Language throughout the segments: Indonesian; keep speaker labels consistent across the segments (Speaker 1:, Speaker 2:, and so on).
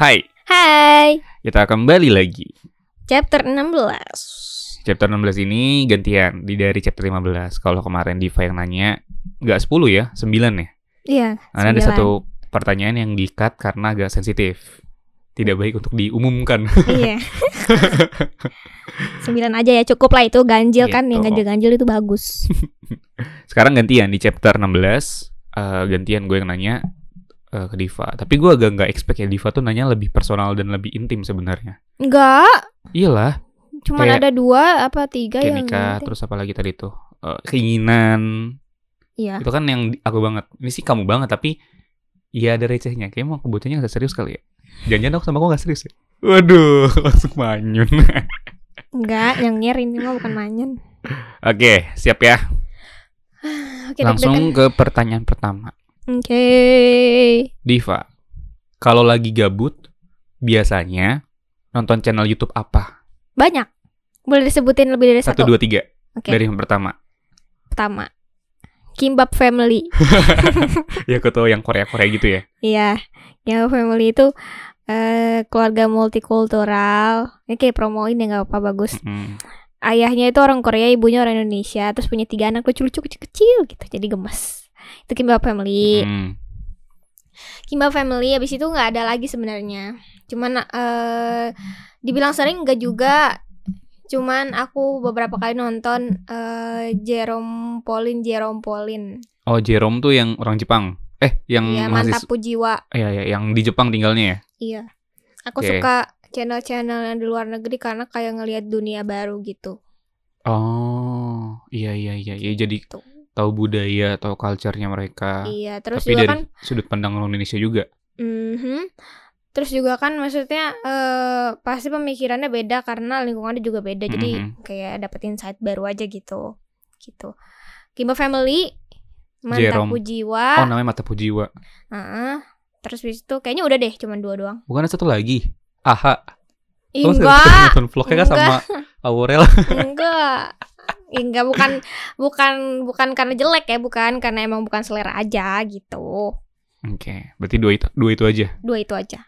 Speaker 1: Hai,
Speaker 2: Hai,
Speaker 1: kita kembali lagi.
Speaker 2: chapter 16
Speaker 1: Chapter 16 ini gantian di dari chapter 15. Kalau kemarin Diva yang nanya, nggak 10 ya, 9 ya.
Speaker 2: Iya,
Speaker 1: Karena ada
Speaker 2: sembilan.
Speaker 1: satu pertanyaan yang di-cut karena agak sensitif. Tidak baik untuk diumumkan.
Speaker 2: Iya 9 aja ya, cukup lah itu ganjil kan Yang
Speaker 1: Gitu.
Speaker 2: ganjil-ganjil itu bagus
Speaker 1: Sekarang gantian di chapter 16, eh, gantian gue yang nanya eh, ke Diva. Tapi gue agak nggak expect ya Diva tuh nanya lebih personal dan lebih intim sebenarnya.
Speaker 2: Enggak,
Speaker 1: Iyalah,
Speaker 2: cuman
Speaker 1: Kayak-
Speaker 2: ada dua apa tiga
Speaker 1: Iya. kayak
Speaker 2: yang
Speaker 1: nikah,
Speaker 2: ganti.
Speaker 1: terus apa lagi tadi tuh? Eh, keinginan,
Speaker 2: Iya,
Speaker 1: Itu kan yang di- aku banget. Ini sih kamu banget tapi Iya ada recehnya. Kayaknya mau aku bocahnya gak serius kali ya. Jangan-jangan aku sama aku gak serius ya. Waduh, langsung manyun. Oke,
Speaker 2: enggak, yang nyer ini mah bukan manyan
Speaker 1: siap ya.
Speaker 2: Oke, deg-degan.
Speaker 1: langsung ke pertanyaan pertama.
Speaker 2: Oke
Speaker 1: Diva, kalau lagi gabut, biasanya nonton channel YouTube apa?
Speaker 2: Banyak Boleh disebutin lebih dari
Speaker 1: Satu,
Speaker 2: satu,
Speaker 1: dua, tiga.
Speaker 2: Oke.
Speaker 1: Dari yang pertama.
Speaker 2: Pertama Kimbab Family
Speaker 1: ya, aku tahu yang Korea-Korea gitu ya.
Speaker 2: Iya, yang family itu eh, keluarga multikultural. Ini kayak promoin ya nggak apa-apa bagus.
Speaker 1: Mm.
Speaker 2: Ayahnya itu orang Korea, ibunya orang Indonesia, terus punya tiga anak lucu-lucu kecil-kecil gitu. Jadi gemes. Itu Kimbab Family.
Speaker 1: Mm.
Speaker 2: Kimbab Family abis itu nggak ada lagi sebenarnya. Cuman eh dibilang sering nggak juga. Cuman aku beberapa kali nonton eh Jerome Pauline Jerome Pauline.
Speaker 1: Oh, Jerome tuh yang orang Jepang. Eh, yang
Speaker 2: Iya,
Speaker 1: mahasiswa.
Speaker 2: mantap pujiwa.
Speaker 1: Iya, iya, yang di Jepang tinggalnya ya.
Speaker 2: Iya. Aku
Speaker 1: Oke.
Speaker 2: suka channel-channel yang di luar negeri karena kayak ngelihat dunia baru gitu.
Speaker 1: Oh, iya iya iya, iya jadi
Speaker 2: Tuh.
Speaker 1: tahu budaya, tahu culture-nya mereka.
Speaker 2: Gitu. Iya, terus
Speaker 1: Tapi
Speaker 2: juga
Speaker 1: dari
Speaker 2: kan
Speaker 1: sudut pandang orang Indonesia juga.
Speaker 2: mhm. Terus juga kan maksudnya eh, pasti pemikirannya beda karena lingkungannya juga beda. Jadi
Speaker 1: Mhm.
Speaker 2: kayak dapet insight baru aja gitu. Gitu. Kimba Family Mantap
Speaker 1: Jerome. Oh,
Speaker 2: Jiwa.
Speaker 1: namanya Mata Pujiwa.
Speaker 2: Heeh. Terus habis itu kayaknya udah deh cuman dua doang.
Speaker 1: Bukan ada satu lagi. Aha, Lu sering
Speaker 2: Enggak,
Speaker 1: nonton vlognya kan sama Aurel.
Speaker 2: enggak. Enggak bukan bukan bukan karena jelek ya, bukan karena emang bukan selera aja gitu.
Speaker 1: Oke, berarti dua itu dua itu aja.
Speaker 2: dua itu aja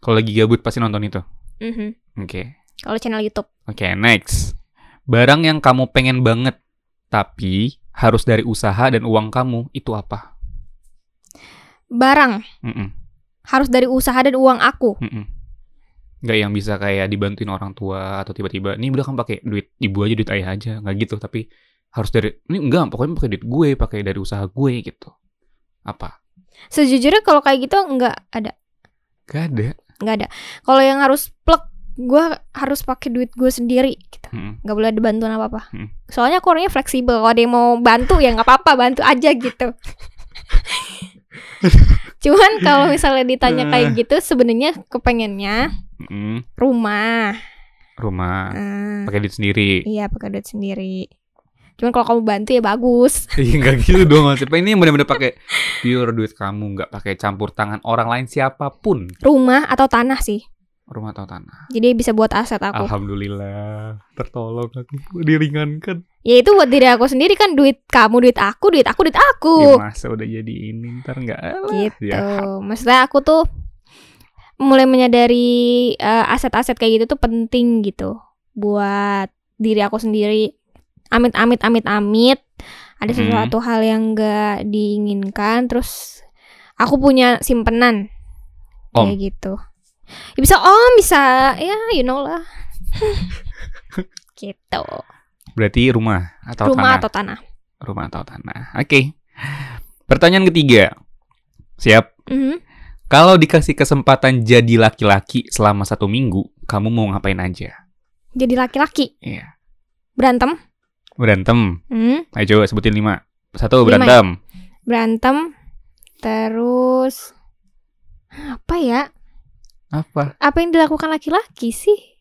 Speaker 1: Kalau lagi gabut pasti nonton itu.
Speaker 2: Mhm.
Speaker 1: Oke.
Speaker 2: kalau channel YouTube
Speaker 1: Oke, next. Barang yang kamu pengen banget tapi harus dari usaha dan uang kamu itu apa?
Speaker 2: barang
Speaker 1: Mm-mm,
Speaker 2: harus dari usaha dan uang aku
Speaker 1: mm-mm. Nggak yang bisa kayak dibantuin orang tua atau tiba-tiba ini udah kamu pakai duit ibu aja duit ayah aja nggak gitu tapi harus dari ini enggak pokoknya pakai duit gue pakai dari usaha gue gitu apa
Speaker 2: sejujurnya kalau kayak gitu nggak ada
Speaker 1: gak ada
Speaker 2: nggak ada kalau yang harus plek gue harus pakai duit gue sendiri gitu
Speaker 1: Mm-mm.
Speaker 2: nggak boleh ada bantuan apa apa
Speaker 1: Hmm.
Speaker 2: soalnya aku orangnya fleksibel kalau ada yang mau bantu ya nggak apa-apa bantu aja gitu cuman kalau misalnya ditanya kayak gitu sebenarnya kepengennya
Speaker 1: Mm-mm.
Speaker 2: rumah
Speaker 1: rumah
Speaker 2: Eh,
Speaker 1: pakai duit sendiri
Speaker 2: iya pakai duit sendiri cuman kalau kamu bantu ya bagus
Speaker 1: Iya nggak gitu dong maksudnya ini yang benar-benar pakai pure duit kamu nggak pakai campur tangan orang lain siapapun
Speaker 2: rumah atau tanah sih
Speaker 1: rumah atau tanah
Speaker 2: Jadi bisa buat aset
Speaker 1: Ah.
Speaker 2: aku.
Speaker 1: alhamdulillah tertolong aku diringankan
Speaker 2: Ya itu buat diri aku sendiri kan duit kamu, duit aku, duit aku, duit aku.
Speaker 1: ya masa udah jadi ini ntar nggak Alah,
Speaker 2: gitu.
Speaker 1: ya
Speaker 2: Maksudnya aku tuh mulai menyadari eh, aset-aset kayak gitu tuh penting gitu buat diri aku sendiri. Amit amit amit amit ada
Speaker 1: Mm.
Speaker 2: sesuatu hal yang gak diinginkan terus aku punya simpenan
Speaker 1: Om.
Speaker 2: kayak gitu. Ya bisa om bisa ya you know lah. gitu.
Speaker 1: berarti rumah atau tanah
Speaker 2: Rumah atau tanah.
Speaker 1: rumah atau tanah. Oke. Pertanyaan ketiga. Siap.
Speaker 2: Mhm.
Speaker 1: Kalau dikasih kesempatan jadi laki-laki selama satu minggu, kamu mau ngapain aja?
Speaker 2: Jadi laki-laki
Speaker 1: Iya.
Speaker 2: berantem,
Speaker 1: Berantem.
Speaker 2: Hmm,
Speaker 1: Ayo coba sebutin lima. Satu
Speaker 2: Lima ya?
Speaker 1: berantem.
Speaker 2: berantem, terus apa ya?
Speaker 1: Apa?
Speaker 2: Apa yang dilakukan laki-laki sih?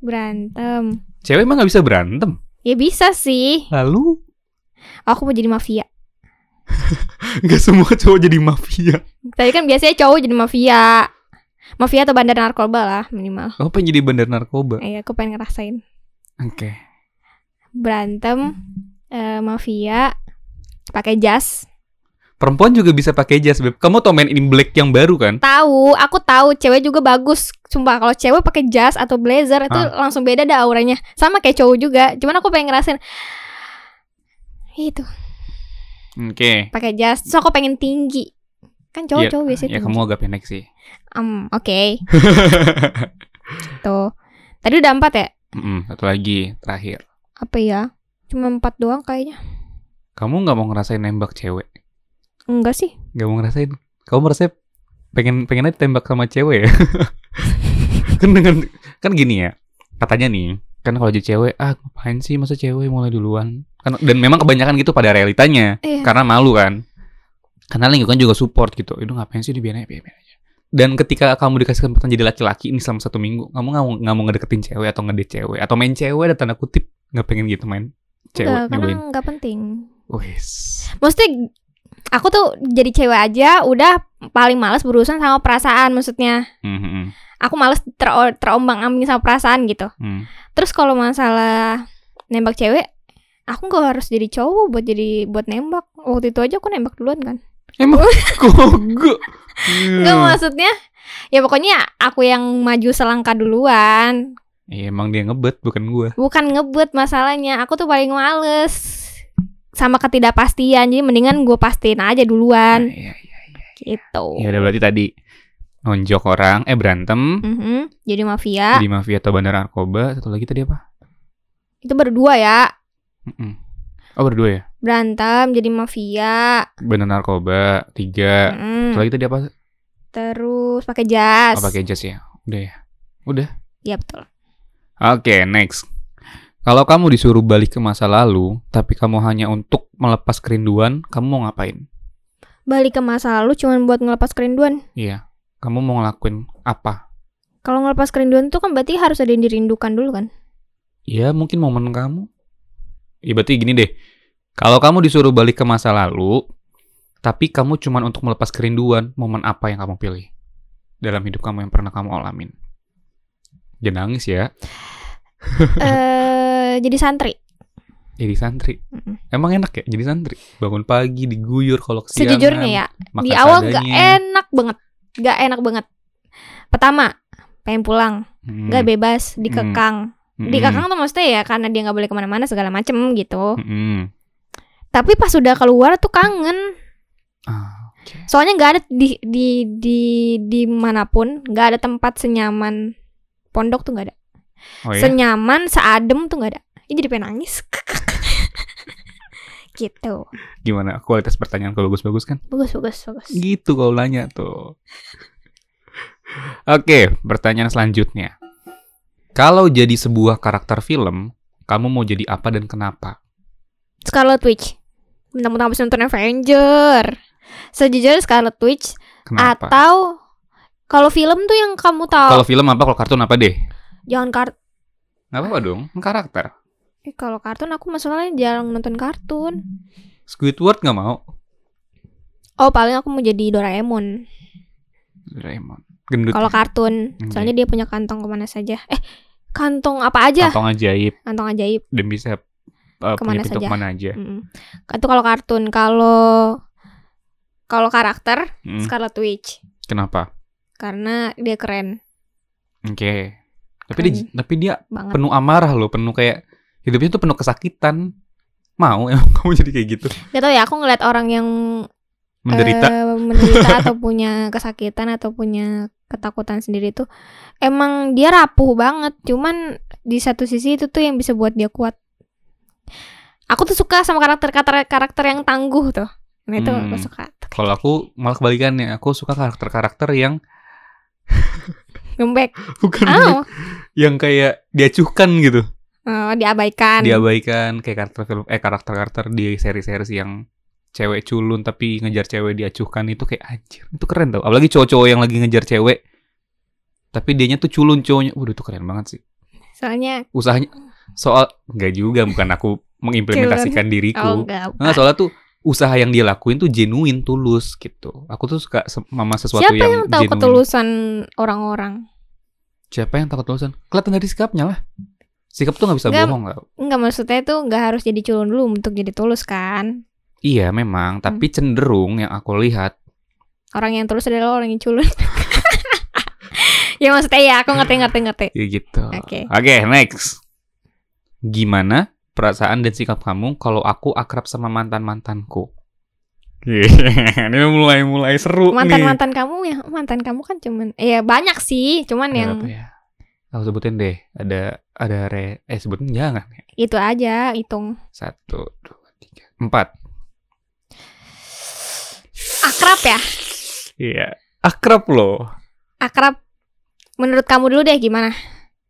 Speaker 2: Berantem.
Speaker 1: Cewek emang nggak bisa berantem.
Speaker 2: Ya bisa sih.
Speaker 1: Lalu
Speaker 2: Aku mau jadi mafia.
Speaker 1: nggak semua cowok jadi mafia.
Speaker 2: Tadi kan biasanya cowok jadi mafia. Mafia atau bandar narkoba lah minimal.
Speaker 1: Kamu pengen jadi bandar narkoba.
Speaker 2: Iya, aku pengen ngerasain.
Speaker 1: Oke.
Speaker 2: Berantem, eh, mafia, pakai jas.
Speaker 1: Perempuan juga bisa pakai jas, Beb. Kamu tau Man in Black yang baru kan?
Speaker 2: Tahu, aku tahu cewek juga bagus. Sumpah kalau cewek pakai jas atau blazer itu langsung beda dah auranya. Sama kayak cowok juga. Cuman aku pengen ngerasain itu
Speaker 1: Oke.
Speaker 2: pakai jas. So aku pengen tinggi. Kan cowok-cowok biasanya
Speaker 1: Ya
Speaker 2: tinggi.
Speaker 1: kamu agak pendek sih.
Speaker 2: Em, oke. Tuh. Tadi udah empat ya?
Speaker 1: Mm-mm, satu lagi terakhir.
Speaker 2: Apa ya? Cuma empat doang kayaknya.
Speaker 1: Kamu nggak mau ngerasain nembak cewek?
Speaker 2: Enggak sih.
Speaker 1: Nggak mau ngerasain? Kamu merasa pengen pengen aja tembak sama cewek ya? kan dengan kan gini ya. Katanya nih, kan kalau jadi cewek, ah ngapain sih masa cewek mulai duluan? Kan dan memang kebanyakan gitu pada realitanya.
Speaker 2: Iya.
Speaker 1: karena malu kan karena lingkungan juga support gitu itu ngapain sih dibiarin aja biarin aja dan ketika kamu dikasih kesempatan jadi laki-laki ini selama satu minggu kamu nggak mau nggak mau ngedeketin cewek atau ngedate cewek atau main cewek ada tanda kutip nggak pengen gitu main
Speaker 2: Enggak,
Speaker 1: cewek
Speaker 2: karena
Speaker 1: nyobain
Speaker 2: enggak penting.
Speaker 1: wes
Speaker 2: Maksudnya aku tuh jadi cewek aja udah paling males berurusan sama perasaan maksudnya.
Speaker 1: Hmm, hmm, hmm.
Speaker 2: Aku males ter- terombang-ambing sama perasaan gitu.
Speaker 1: Hmm.
Speaker 2: Terus kalau masalah nembak cewek, aku nggak harus jadi cowok buat jadi buat nembak. Waktu itu aja aku nembak duluan kan.
Speaker 1: emang kok
Speaker 2: Enggak
Speaker 1: Hmm.
Speaker 2: maksudnya ya pokoknya aku yang maju selangkah duluan.
Speaker 1: Iya emang dia ngebet bukan gua
Speaker 2: Bukan ngebut masalahnya, aku tuh paling males sama ketidakpastian. Jadi mendingan gue pastiin aja duluan
Speaker 1: Iya, iya, iya.
Speaker 2: gitu.
Speaker 1: ya udah berarti tadi nonjok orang eh berantem
Speaker 2: Mhm, Jadi mafia
Speaker 1: di mafia atau bandar narkoba satu lagi tadi apa
Speaker 2: itu berdua ya.
Speaker 1: Mm-mm. oh berdua ya
Speaker 2: Berantem jadi mafia.
Speaker 1: bandar narkoba tiga
Speaker 2: Mhm.
Speaker 1: Satu lagi tadi apa?
Speaker 2: Terus pakai jas.
Speaker 1: Oh, pakai jas ya. Udah ya.
Speaker 2: Iya betul.
Speaker 1: Oke, next. Kalau kamu disuruh balik ke masa lalu, tapi kamu hanya untuk melepas kerinduan, kamu mau ngapain?
Speaker 2: Balik ke masa lalu cuman buat ngelepas kerinduan.
Speaker 1: Iya. Kamu mau ngelakuin apa?
Speaker 2: Kalau ngelepas kerinduan tuh kan berarti harus ada yang dirindukan dulu kan?
Speaker 1: Ya, mungkin momen kamu. Ya, berarti gini deh. Kalau kamu disuruh balik ke masa lalu, tapi kamu cuma untuk melepas kerinduan, momen apa yang kamu pilih? Dalam hidup kamu yang pernah kamu alamin. Jangan nangis ya.
Speaker 2: eh jadi santri.
Speaker 1: Iya, Jadi santri.
Speaker 2: Mm-mm.
Speaker 1: Emang enak ya jadi santri? Bangun pagi, diguyur kalau kesiangan.
Speaker 2: Sejujurnya ya,
Speaker 1: Makan
Speaker 2: di awal
Speaker 1: seadanya.
Speaker 2: gak enak banget, gak enak banget. Pertama, pengen pulang,
Speaker 1: Hmm,
Speaker 2: gak bebas, dikekang.
Speaker 1: hmm,
Speaker 2: Dikekang tuh maksudnya ya karena dia gak boleh kemana-mana segala macem gitu.
Speaker 1: hmm, hmm.
Speaker 2: Tapi pas udah keluar tuh kangen.
Speaker 1: Ah, oke.
Speaker 2: Soalnya gak ada di di di dimanapun, gak ada tempat senyaman pondok tuh gak ada.
Speaker 1: Oh ya.
Speaker 2: Senyaman, seadem tuh gak ada. Ini jadi pengen nangis. gitu.
Speaker 1: Gimana kualitas pertanyaan kalau bagus-bagus kan?
Speaker 2: Bagus, bagus, bagus.
Speaker 1: Gitu kalau nanya tuh. oke, pertanyaan selanjutnya. Kalau jadi sebuah karakter film, kamu mau jadi apa dan kenapa?
Speaker 2: Scarlet Witch. Mentang-mentang habis nonton Avenger. Sejujurnya Scarlet Witch
Speaker 1: Kenapa?
Speaker 2: atau kalau film tuh yang kamu tahu
Speaker 1: Kalau film apa? Kalau kartun apa deh?
Speaker 2: jangan kartun.
Speaker 1: Gak apa-apa dong, kan karakter.
Speaker 2: kalau kartun aku masalahnya jarang nonton kartun.
Speaker 1: Squidward gak mau.
Speaker 2: Oh, paling aku mau jadi Doraemon.
Speaker 1: Doraemon. Gendut.
Speaker 2: Kalau kartun,
Speaker 1: Oke.
Speaker 2: soalnya dia punya kantong kemana saja. Eh, kantong apa aja?
Speaker 1: Kantong ajaib
Speaker 2: Kantong ajaib.
Speaker 1: dan bisa uh, punya
Speaker 2: Kemana
Speaker 1: pintu
Speaker 2: saja.
Speaker 1: kemana aja.
Speaker 2: Mm-mm. Itu kalau kartun. Kalau kalau karakter
Speaker 1: Hmm,
Speaker 2: Scarlet Witch
Speaker 1: Kenapa?
Speaker 2: karena dia keren
Speaker 1: Oke. Tapi dia,
Speaker 2: Keren.
Speaker 1: tapi dia
Speaker 2: banget.
Speaker 1: penuh amarah loh, penuh kayak hidupnya tuh penuh kesakitan. Mau emang kamu jadi kayak gitu?
Speaker 2: Gak tau ya, aku ngeliat orang yang
Speaker 1: Menderita.
Speaker 2: eh, menderita atau punya kesakitan atau punya ketakutan sendiri tuh emang dia rapuh banget cuman di satu sisi itu tuh yang bisa buat dia kuat aku tuh suka sama karakter karakter karakter yang tangguh tuh nah itu
Speaker 1: Hmm.
Speaker 2: aku suka
Speaker 1: Kalau aku malah kebalikannya, aku suka karakter-karakter yang
Speaker 2: gembek
Speaker 1: bukan
Speaker 2: oh,
Speaker 1: yang kayak diacuhkan gitu,
Speaker 2: oh, diabaikan
Speaker 1: diabaikan kayak karakter film eh karakter-karakter di seri-seri yang cewek culun tapi ngejar cewek diacuhkan itu kayak anjir. Itu keren tau. Apalagi cowok-cowok yang lagi ngejar cewek tapi dianya tuh culun cowoknya. Waduh itu keren banget sih.
Speaker 2: soalnya
Speaker 1: usahanya soal nggak juga bukan aku mengimplementasikan
Speaker 2: oh
Speaker 1: diriku
Speaker 2: enggak
Speaker 1: nggak soalnya tuh usaha yang dia lakuin tuh genuine tulus gitu aku tuh suka se- sama sesuatu
Speaker 2: siapa
Speaker 1: yang,
Speaker 2: yang, tahu
Speaker 1: genuine.
Speaker 2: ketulusan orang-orang
Speaker 1: siapa yang tahu ketulusan kelihatan dari sikapnya lah sikap tuh nggak bisa
Speaker 2: Nggak.
Speaker 1: bohong nggak
Speaker 2: enggak maksudnya tuh enggak harus jadi culun dulu untuk jadi tulus kan
Speaker 1: Iya memang, tapi
Speaker 2: Hmm.
Speaker 1: cenderung yang aku lihat
Speaker 2: Orang yang tulus adalah orang yang culun. ya maksudnya ya, aku ngerti ngerti ngerti.
Speaker 1: ya gitu.
Speaker 2: Oke.
Speaker 1: next. Gimana perasaan dan sikap kamu kalau aku akrab sama mantan mantanku? Ini mulai mulai seru
Speaker 2: Mantan
Speaker 1: nih.
Speaker 2: mantan kamu ya, mantan kamu kan cuman, ya banyak sih, cuman
Speaker 1: Ada
Speaker 2: yang
Speaker 1: apa ya? Aku sebutin deh. Ada ada re eh sebutin jangan.
Speaker 2: itu aja hitung.
Speaker 1: Satu, dua, tiga, empat.
Speaker 2: Akrab ya,
Speaker 1: Iya. Akrab loh.
Speaker 2: akrab. Menurut kamu dulu deh gimana?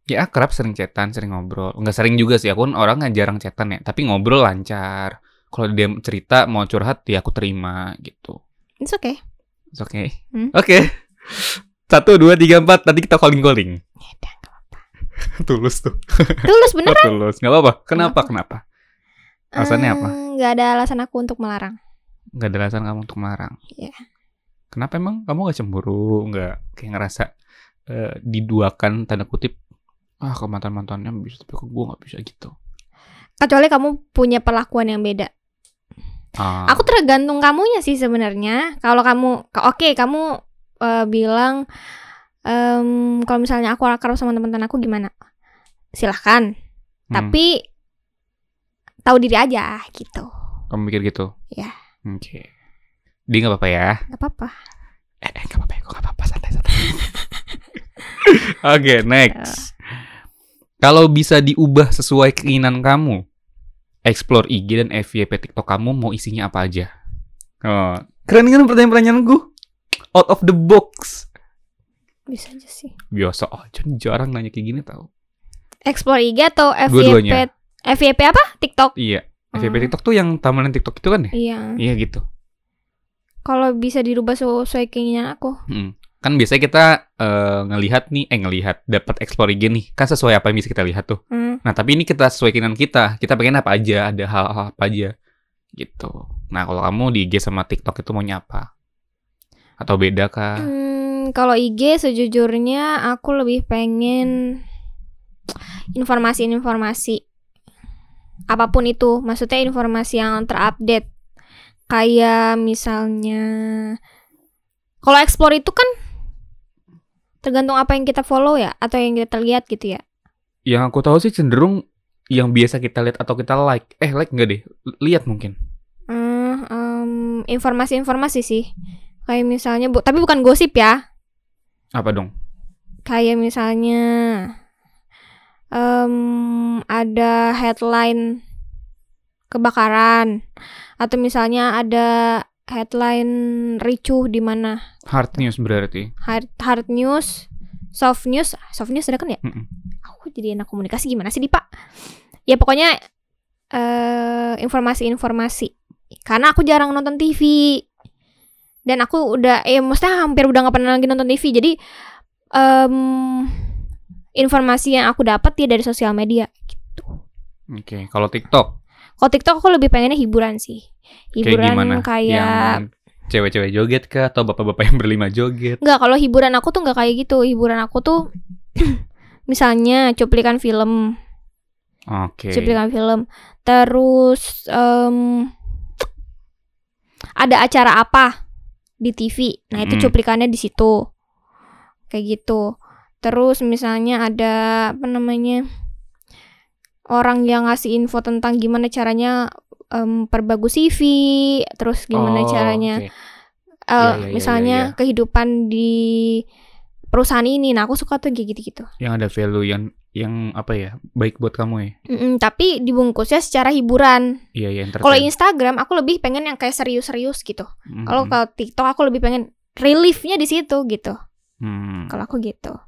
Speaker 1: Ya akrab sering cetan, sering ngobrol. Nggak sering juga sih. Aku kan orang nggak jarang cetan ya. Tapi ngobrol lancar. Kalau dia cerita mau curhat ya aku terima gitu.
Speaker 2: It's okay.
Speaker 1: It's okay.
Speaker 2: Hmm?
Speaker 1: Oke. Satu, dua, tiga, empat. Nanti kita calling-calling.
Speaker 2: Ya
Speaker 1: tulus tuh. Oh,
Speaker 2: Tulus bener.
Speaker 1: tulus. Gak apa-apa. Kenapa? Kenapa? Alasannya apa?
Speaker 2: Eh, Nggak ada alasan aku untuk melarang.
Speaker 1: Gak ada alasan kamu untuk melarang.
Speaker 2: Iya.
Speaker 1: Kenapa emang kamu gak cemburu? Gak kayak ngerasa eh, diduakan tanda kutip. Ah, ke mantan-mantannya bisa, tapi kok gue gak bisa gitu.
Speaker 2: Kecuali kamu punya perlakuan yang beda.
Speaker 1: Ah,
Speaker 2: Aku tergantung kamunya sih sebenarnya. Kalau kamu ka- oke, kamu eh, bilang em, kalau misalnya aku akrab sama teman-teman aku gimana? Silahkan.
Speaker 1: hmm,
Speaker 2: Tapi tahu diri aja gitu.
Speaker 1: Kamu mikir gitu?
Speaker 2: Iya.
Speaker 1: Oke. Dia gak apa-apa ya?
Speaker 2: Gak apa-apa.
Speaker 1: Eh, eh gak apa-apa, kok gak apa-apa, santai-santai. Oke, next. Kalau bisa diubah sesuai keinginan kamu, explore IG dan FYP TikTok kamu mau isinya apa aja? Oh, keren kan pertanyaan-pertanyaan gue? Out of the box.
Speaker 2: Bisa aja sih.
Speaker 1: Biasa aja, jarang nanya kayak gini tau.
Speaker 2: Explore IG atau
Speaker 1: Dua-duanya.
Speaker 2: FYP? FYP apa? TikTok.
Speaker 1: Iya, FYP
Speaker 2: Hmm.
Speaker 1: TikTok tuh yang tamanan TikTok itu kan ya?
Speaker 2: Iya.
Speaker 1: Iya gitu.
Speaker 2: Kalau bisa dirubah sesuai keinginan aku.
Speaker 1: Mm. Kan biasanya kita eh, ngelihat nih, eh ngelihat, dapat explore IG nih. Kan sesuai apa yang bisa kita lihat tuh.
Speaker 2: Hmm.
Speaker 1: Nah, tapi ini kita sesuai keinginan kita. Kita pengen apa aja, ada hal-hal apa aja. Gitu. Nah, kalau kamu di IG sama TikTok itu mau nyapa? Atau beda kah?
Speaker 2: Hmm, kalau IG sejujurnya aku lebih pengen informasi-informasi apapun itu, maksudnya informasi yang terupdate. Kayak misalnya kalau explore itu kan tergantung apa yang kita follow ya atau yang kita lihat gitu ya.
Speaker 1: Yang aku tahu sih cenderung yang biasa kita lihat atau kita like. Eh, like nggak deh? L- Lihat mungkin.
Speaker 2: Hmm, em, informasi-informasi sih. Kayak misalnya bu, tapi bukan gosip ya.
Speaker 1: Apa dong?
Speaker 2: kayak misalnya em, ada headline kebakaran atau misalnya ada headline ricuh di mana
Speaker 1: Hard news berarti.
Speaker 2: hard, hard news soft news soft news ada kan ya
Speaker 1: Mm-mm.
Speaker 2: aku jadi anak komunikasi gimana sih Dipa ya pokoknya eh, informasi-informasi karena aku jarang nonton TV dan aku udah eh maksudnya hampir udah nggak pernah lagi nonton TV jadi em, informasi yang aku dapat ya dari sosial media gitu
Speaker 1: Oke, kalau TikTok
Speaker 2: kalau TikTok aku lebih pengennya hiburan sih
Speaker 1: kayak
Speaker 2: hiburan
Speaker 1: gimana?
Speaker 2: kayak
Speaker 1: Yang cewek-cewek joget kah atau bapak-bapak yang berlima joget?
Speaker 2: Nggak, kalau hiburan aku tuh nggak kayak gitu hiburan aku tuh misalnya cuplikan film
Speaker 1: Oke.
Speaker 2: cuplikan film. Terus em, ada acara apa di TV? Nah, itu
Speaker 1: Mm.
Speaker 2: cuplikannya di situ. Kayak gitu. Terus misalnya ada apa namanya? Orang yang ngasih info tentang gimana caranya em, perbagus CV, terus
Speaker 1: Oh,
Speaker 2: gimana caranya
Speaker 1: oke.
Speaker 2: eh,
Speaker 1: Iya, iya, iya,
Speaker 2: misalnya
Speaker 1: iya,
Speaker 2: kehidupan di perusahaan ini. Nah, aku suka tuh kayak gitu-gitu.
Speaker 1: Yang ada value yang yang apa ya? Baik buat kamu ya?
Speaker 2: Mm-mm, tapi dibungkusnya secara hiburan.
Speaker 1: Iya, iya, entertain.
Speaker 2: Kalau Instagram aku lebih pengen yang kayak serius-serius gitu.
Speaker 1: Mm-mm.
Speaker 2: Kalau kalau TikTok aku lebih pengen reliefnya di situ gitu.
Speaker 1: Hmm,
Speaker 2: Kalau aku gitu.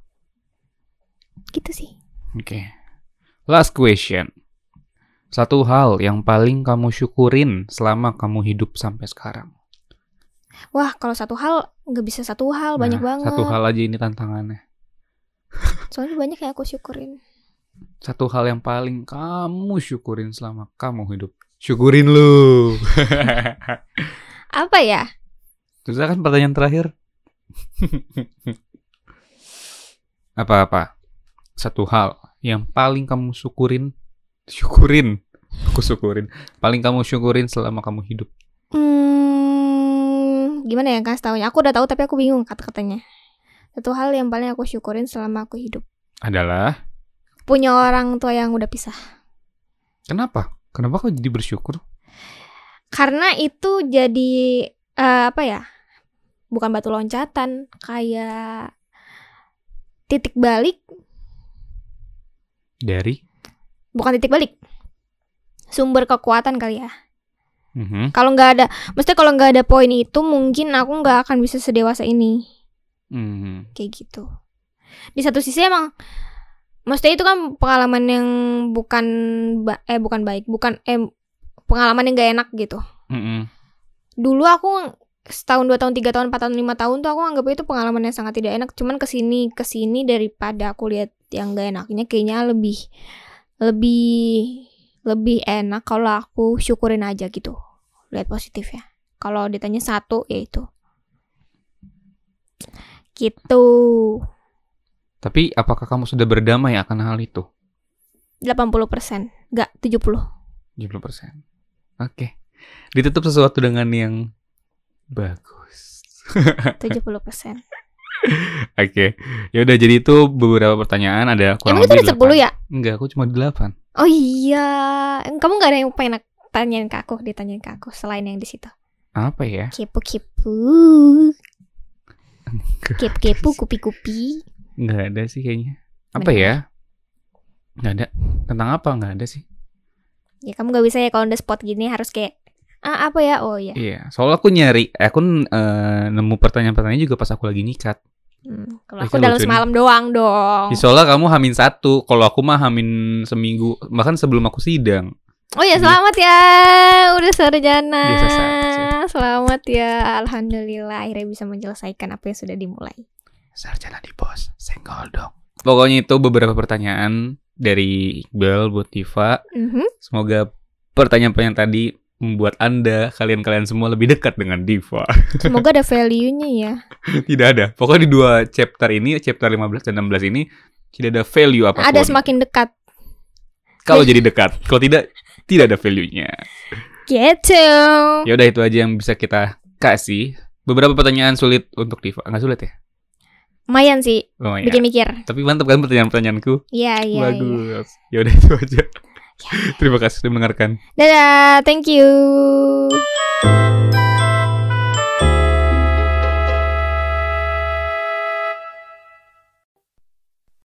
Speaker 2: Gitu sih.
Speaker 1: oke. Last question. Satu hal yang paling kamu syukurin selama kamu hidup sampai sekarang.
Speaker 2: Wah, kalau satu hal nggak bisa satu hal, banyak
Speaker 1: Nah,
Speaker 2: banget.
Speaker 1: Satu hal aja ini tantangannya.
Speaker 2: Soalnya banyak yang aku syukurin.
Speaker 1: Satu hal yang paling kamu syukurin selama kamu hidup. Syukurin lu.
Speaker 2: Apa ya?
Speaker 1: Terus kan pertanyaan terakhir. Apa-apa? Satu hal yang paling kamu syukurin. Syukurin. Aku syukurin. Paling kamu syukurin selama kamu hidup.
Speaker 2: Hmm, gimana ya kasih taunya? Aku udah tahu tapi aku bingung kata-katanya. Satu hal yang paling aku syukurin selama aku hidup.
Speaker 1: Adalah
Speaker 2: Punya orang tua yang udah pisah.
Speaker 1: kenapa? Kenapa kau jadi bersyukur?
Speaker 2: Karena itu jadi eh, apa ya? Bukan batu loncatan, kayak titik balik,
Speaker 1: Dari
Speaker 2: bukan titik balik. Sumber kekuatan kali ya.
Speaker 1: Mhm.
Speaker 2: Kalau nggak ada, mesti kalau nggak ada poin itu mungkin aku nggak akan bisa sedewasa ini.
Speaker 1: Hmm.
Speaker 2: kayak gitu di satu sisi emang maksudnya itu kan pengalaman yang bukan ba- eh bukan baik bukan eh pengalaman yang gak enak gitu
Speaker 1: Mm-mm.
Speaker 2: dulu aku setahun dua tahun tiga tahun empat tahun lima tahun tuh aku anggap itu pengalaman yang sangat tidak enak cuman kesini kesini daripada aku lihat yang gak enaknya kayaknya lebih lebih lebih enak kalau aku syukurin aja gitu lihat positif ya kalau ditanya satu ya itu gitu
Speaker 1: Tapi apakah kamu sudah berdamai akan hal itu?
Speaker 2: 80%, enggak 70.
Speaker 1: 70%. Oke. Ditutup sesuatu dengan yang bagus.
Speaker 2: 70%.
Speaker 1: Oke. Ya udah jadi itu beberapa pertanyaan ada kurang
Speaker 2: Emang
Speaker 1: lebih
Speaker 2: itu ada 10 ya?
Speaker 1: Enggak, aku cuma 8.
Speaker 2: Oh iya. Em, Kamu nggak ada yang pengen aku- tanyain ke aku, ditanyain ke aku selain yang di situ.
Speaker 1: Apa ya?
Speaker 2: Kepo-kepo. Kepo-kepo, kupi-kupi.
Speaker 1: Enggak ada sih kayaknya. Apa ya? Enggak ada. Tentang apa enggak ada sih?
Speaker 2: Ya kamu nggak bisa ya kalau udah spot gini harus kayak ah apa ya? Oh iya.
Speaker 1: Iya, soalnya aku nyari, aku eh, nemu pertanyaan-pertanyaan juga pas aku lagi nyikat.
Speaker 2: Hmm,
Speaker 1: Eh,
Speaker 2: kalau aku
Speaker 1: kan
Speaker 2: dalam
Speaker 1: lucu nih.
Speaker 2: semalam doang dong.
Speaker 1: Di soalnya kamu hamin satu, kalau aku mah hamin seminggu, bahkan sebelum aku sidang.
Speaker 2: Oh ya
Speaker 1: Iya.
Speaker 2: selamat ya udah sarjana.
Speaker 1: Biasa saja.
Speaker 2: Selamat ya alhamdulillah akhirnya bisa menyelesaikan apa yang sudah dimulai.
Speaker 1: Sarjana di pos, senggol dong. Pokoknya itu beberapa pertanyaan dari Iqbal buat Tifa.
Speaker 2: Mhm.
Speaker 1: Semoga pertanyaan-pertanyaan tadi membuat Anda, kalian-kalian semua lebih dekat dengan Diva.
Speaker 2: Semoga ada value-nya ya.
Speaker 1: tidak ada. Pokoknya di dua chapter ini, chapter 15 dan 16 ini tidak ada value apapun.
Speaker 2: Ada semakin dekat
Speaker 1: Kalau jadi dekat, kalau tidak tidak ada value-nya.
Speaker 2: gitu.
Speaker 1: Ya udah itu aja yang bisa kita kasih. Beberapa pertanyaan sulit untuk Diva. Nggak sulit ya?
Speaker 2: Lumayan sih
Speaker 1: Lumayan.
Speaker 2: bikin mikir.
Speaker 1: Tapi mantap kan pertanyaan-pertanyaanku?
Speaker 2: Iya, iya. iya.
Speaker 1: Bagus. Ya udah itu aja. Terima kasih sudah mendengarkan.
Speaker 2: Dadah, thank you.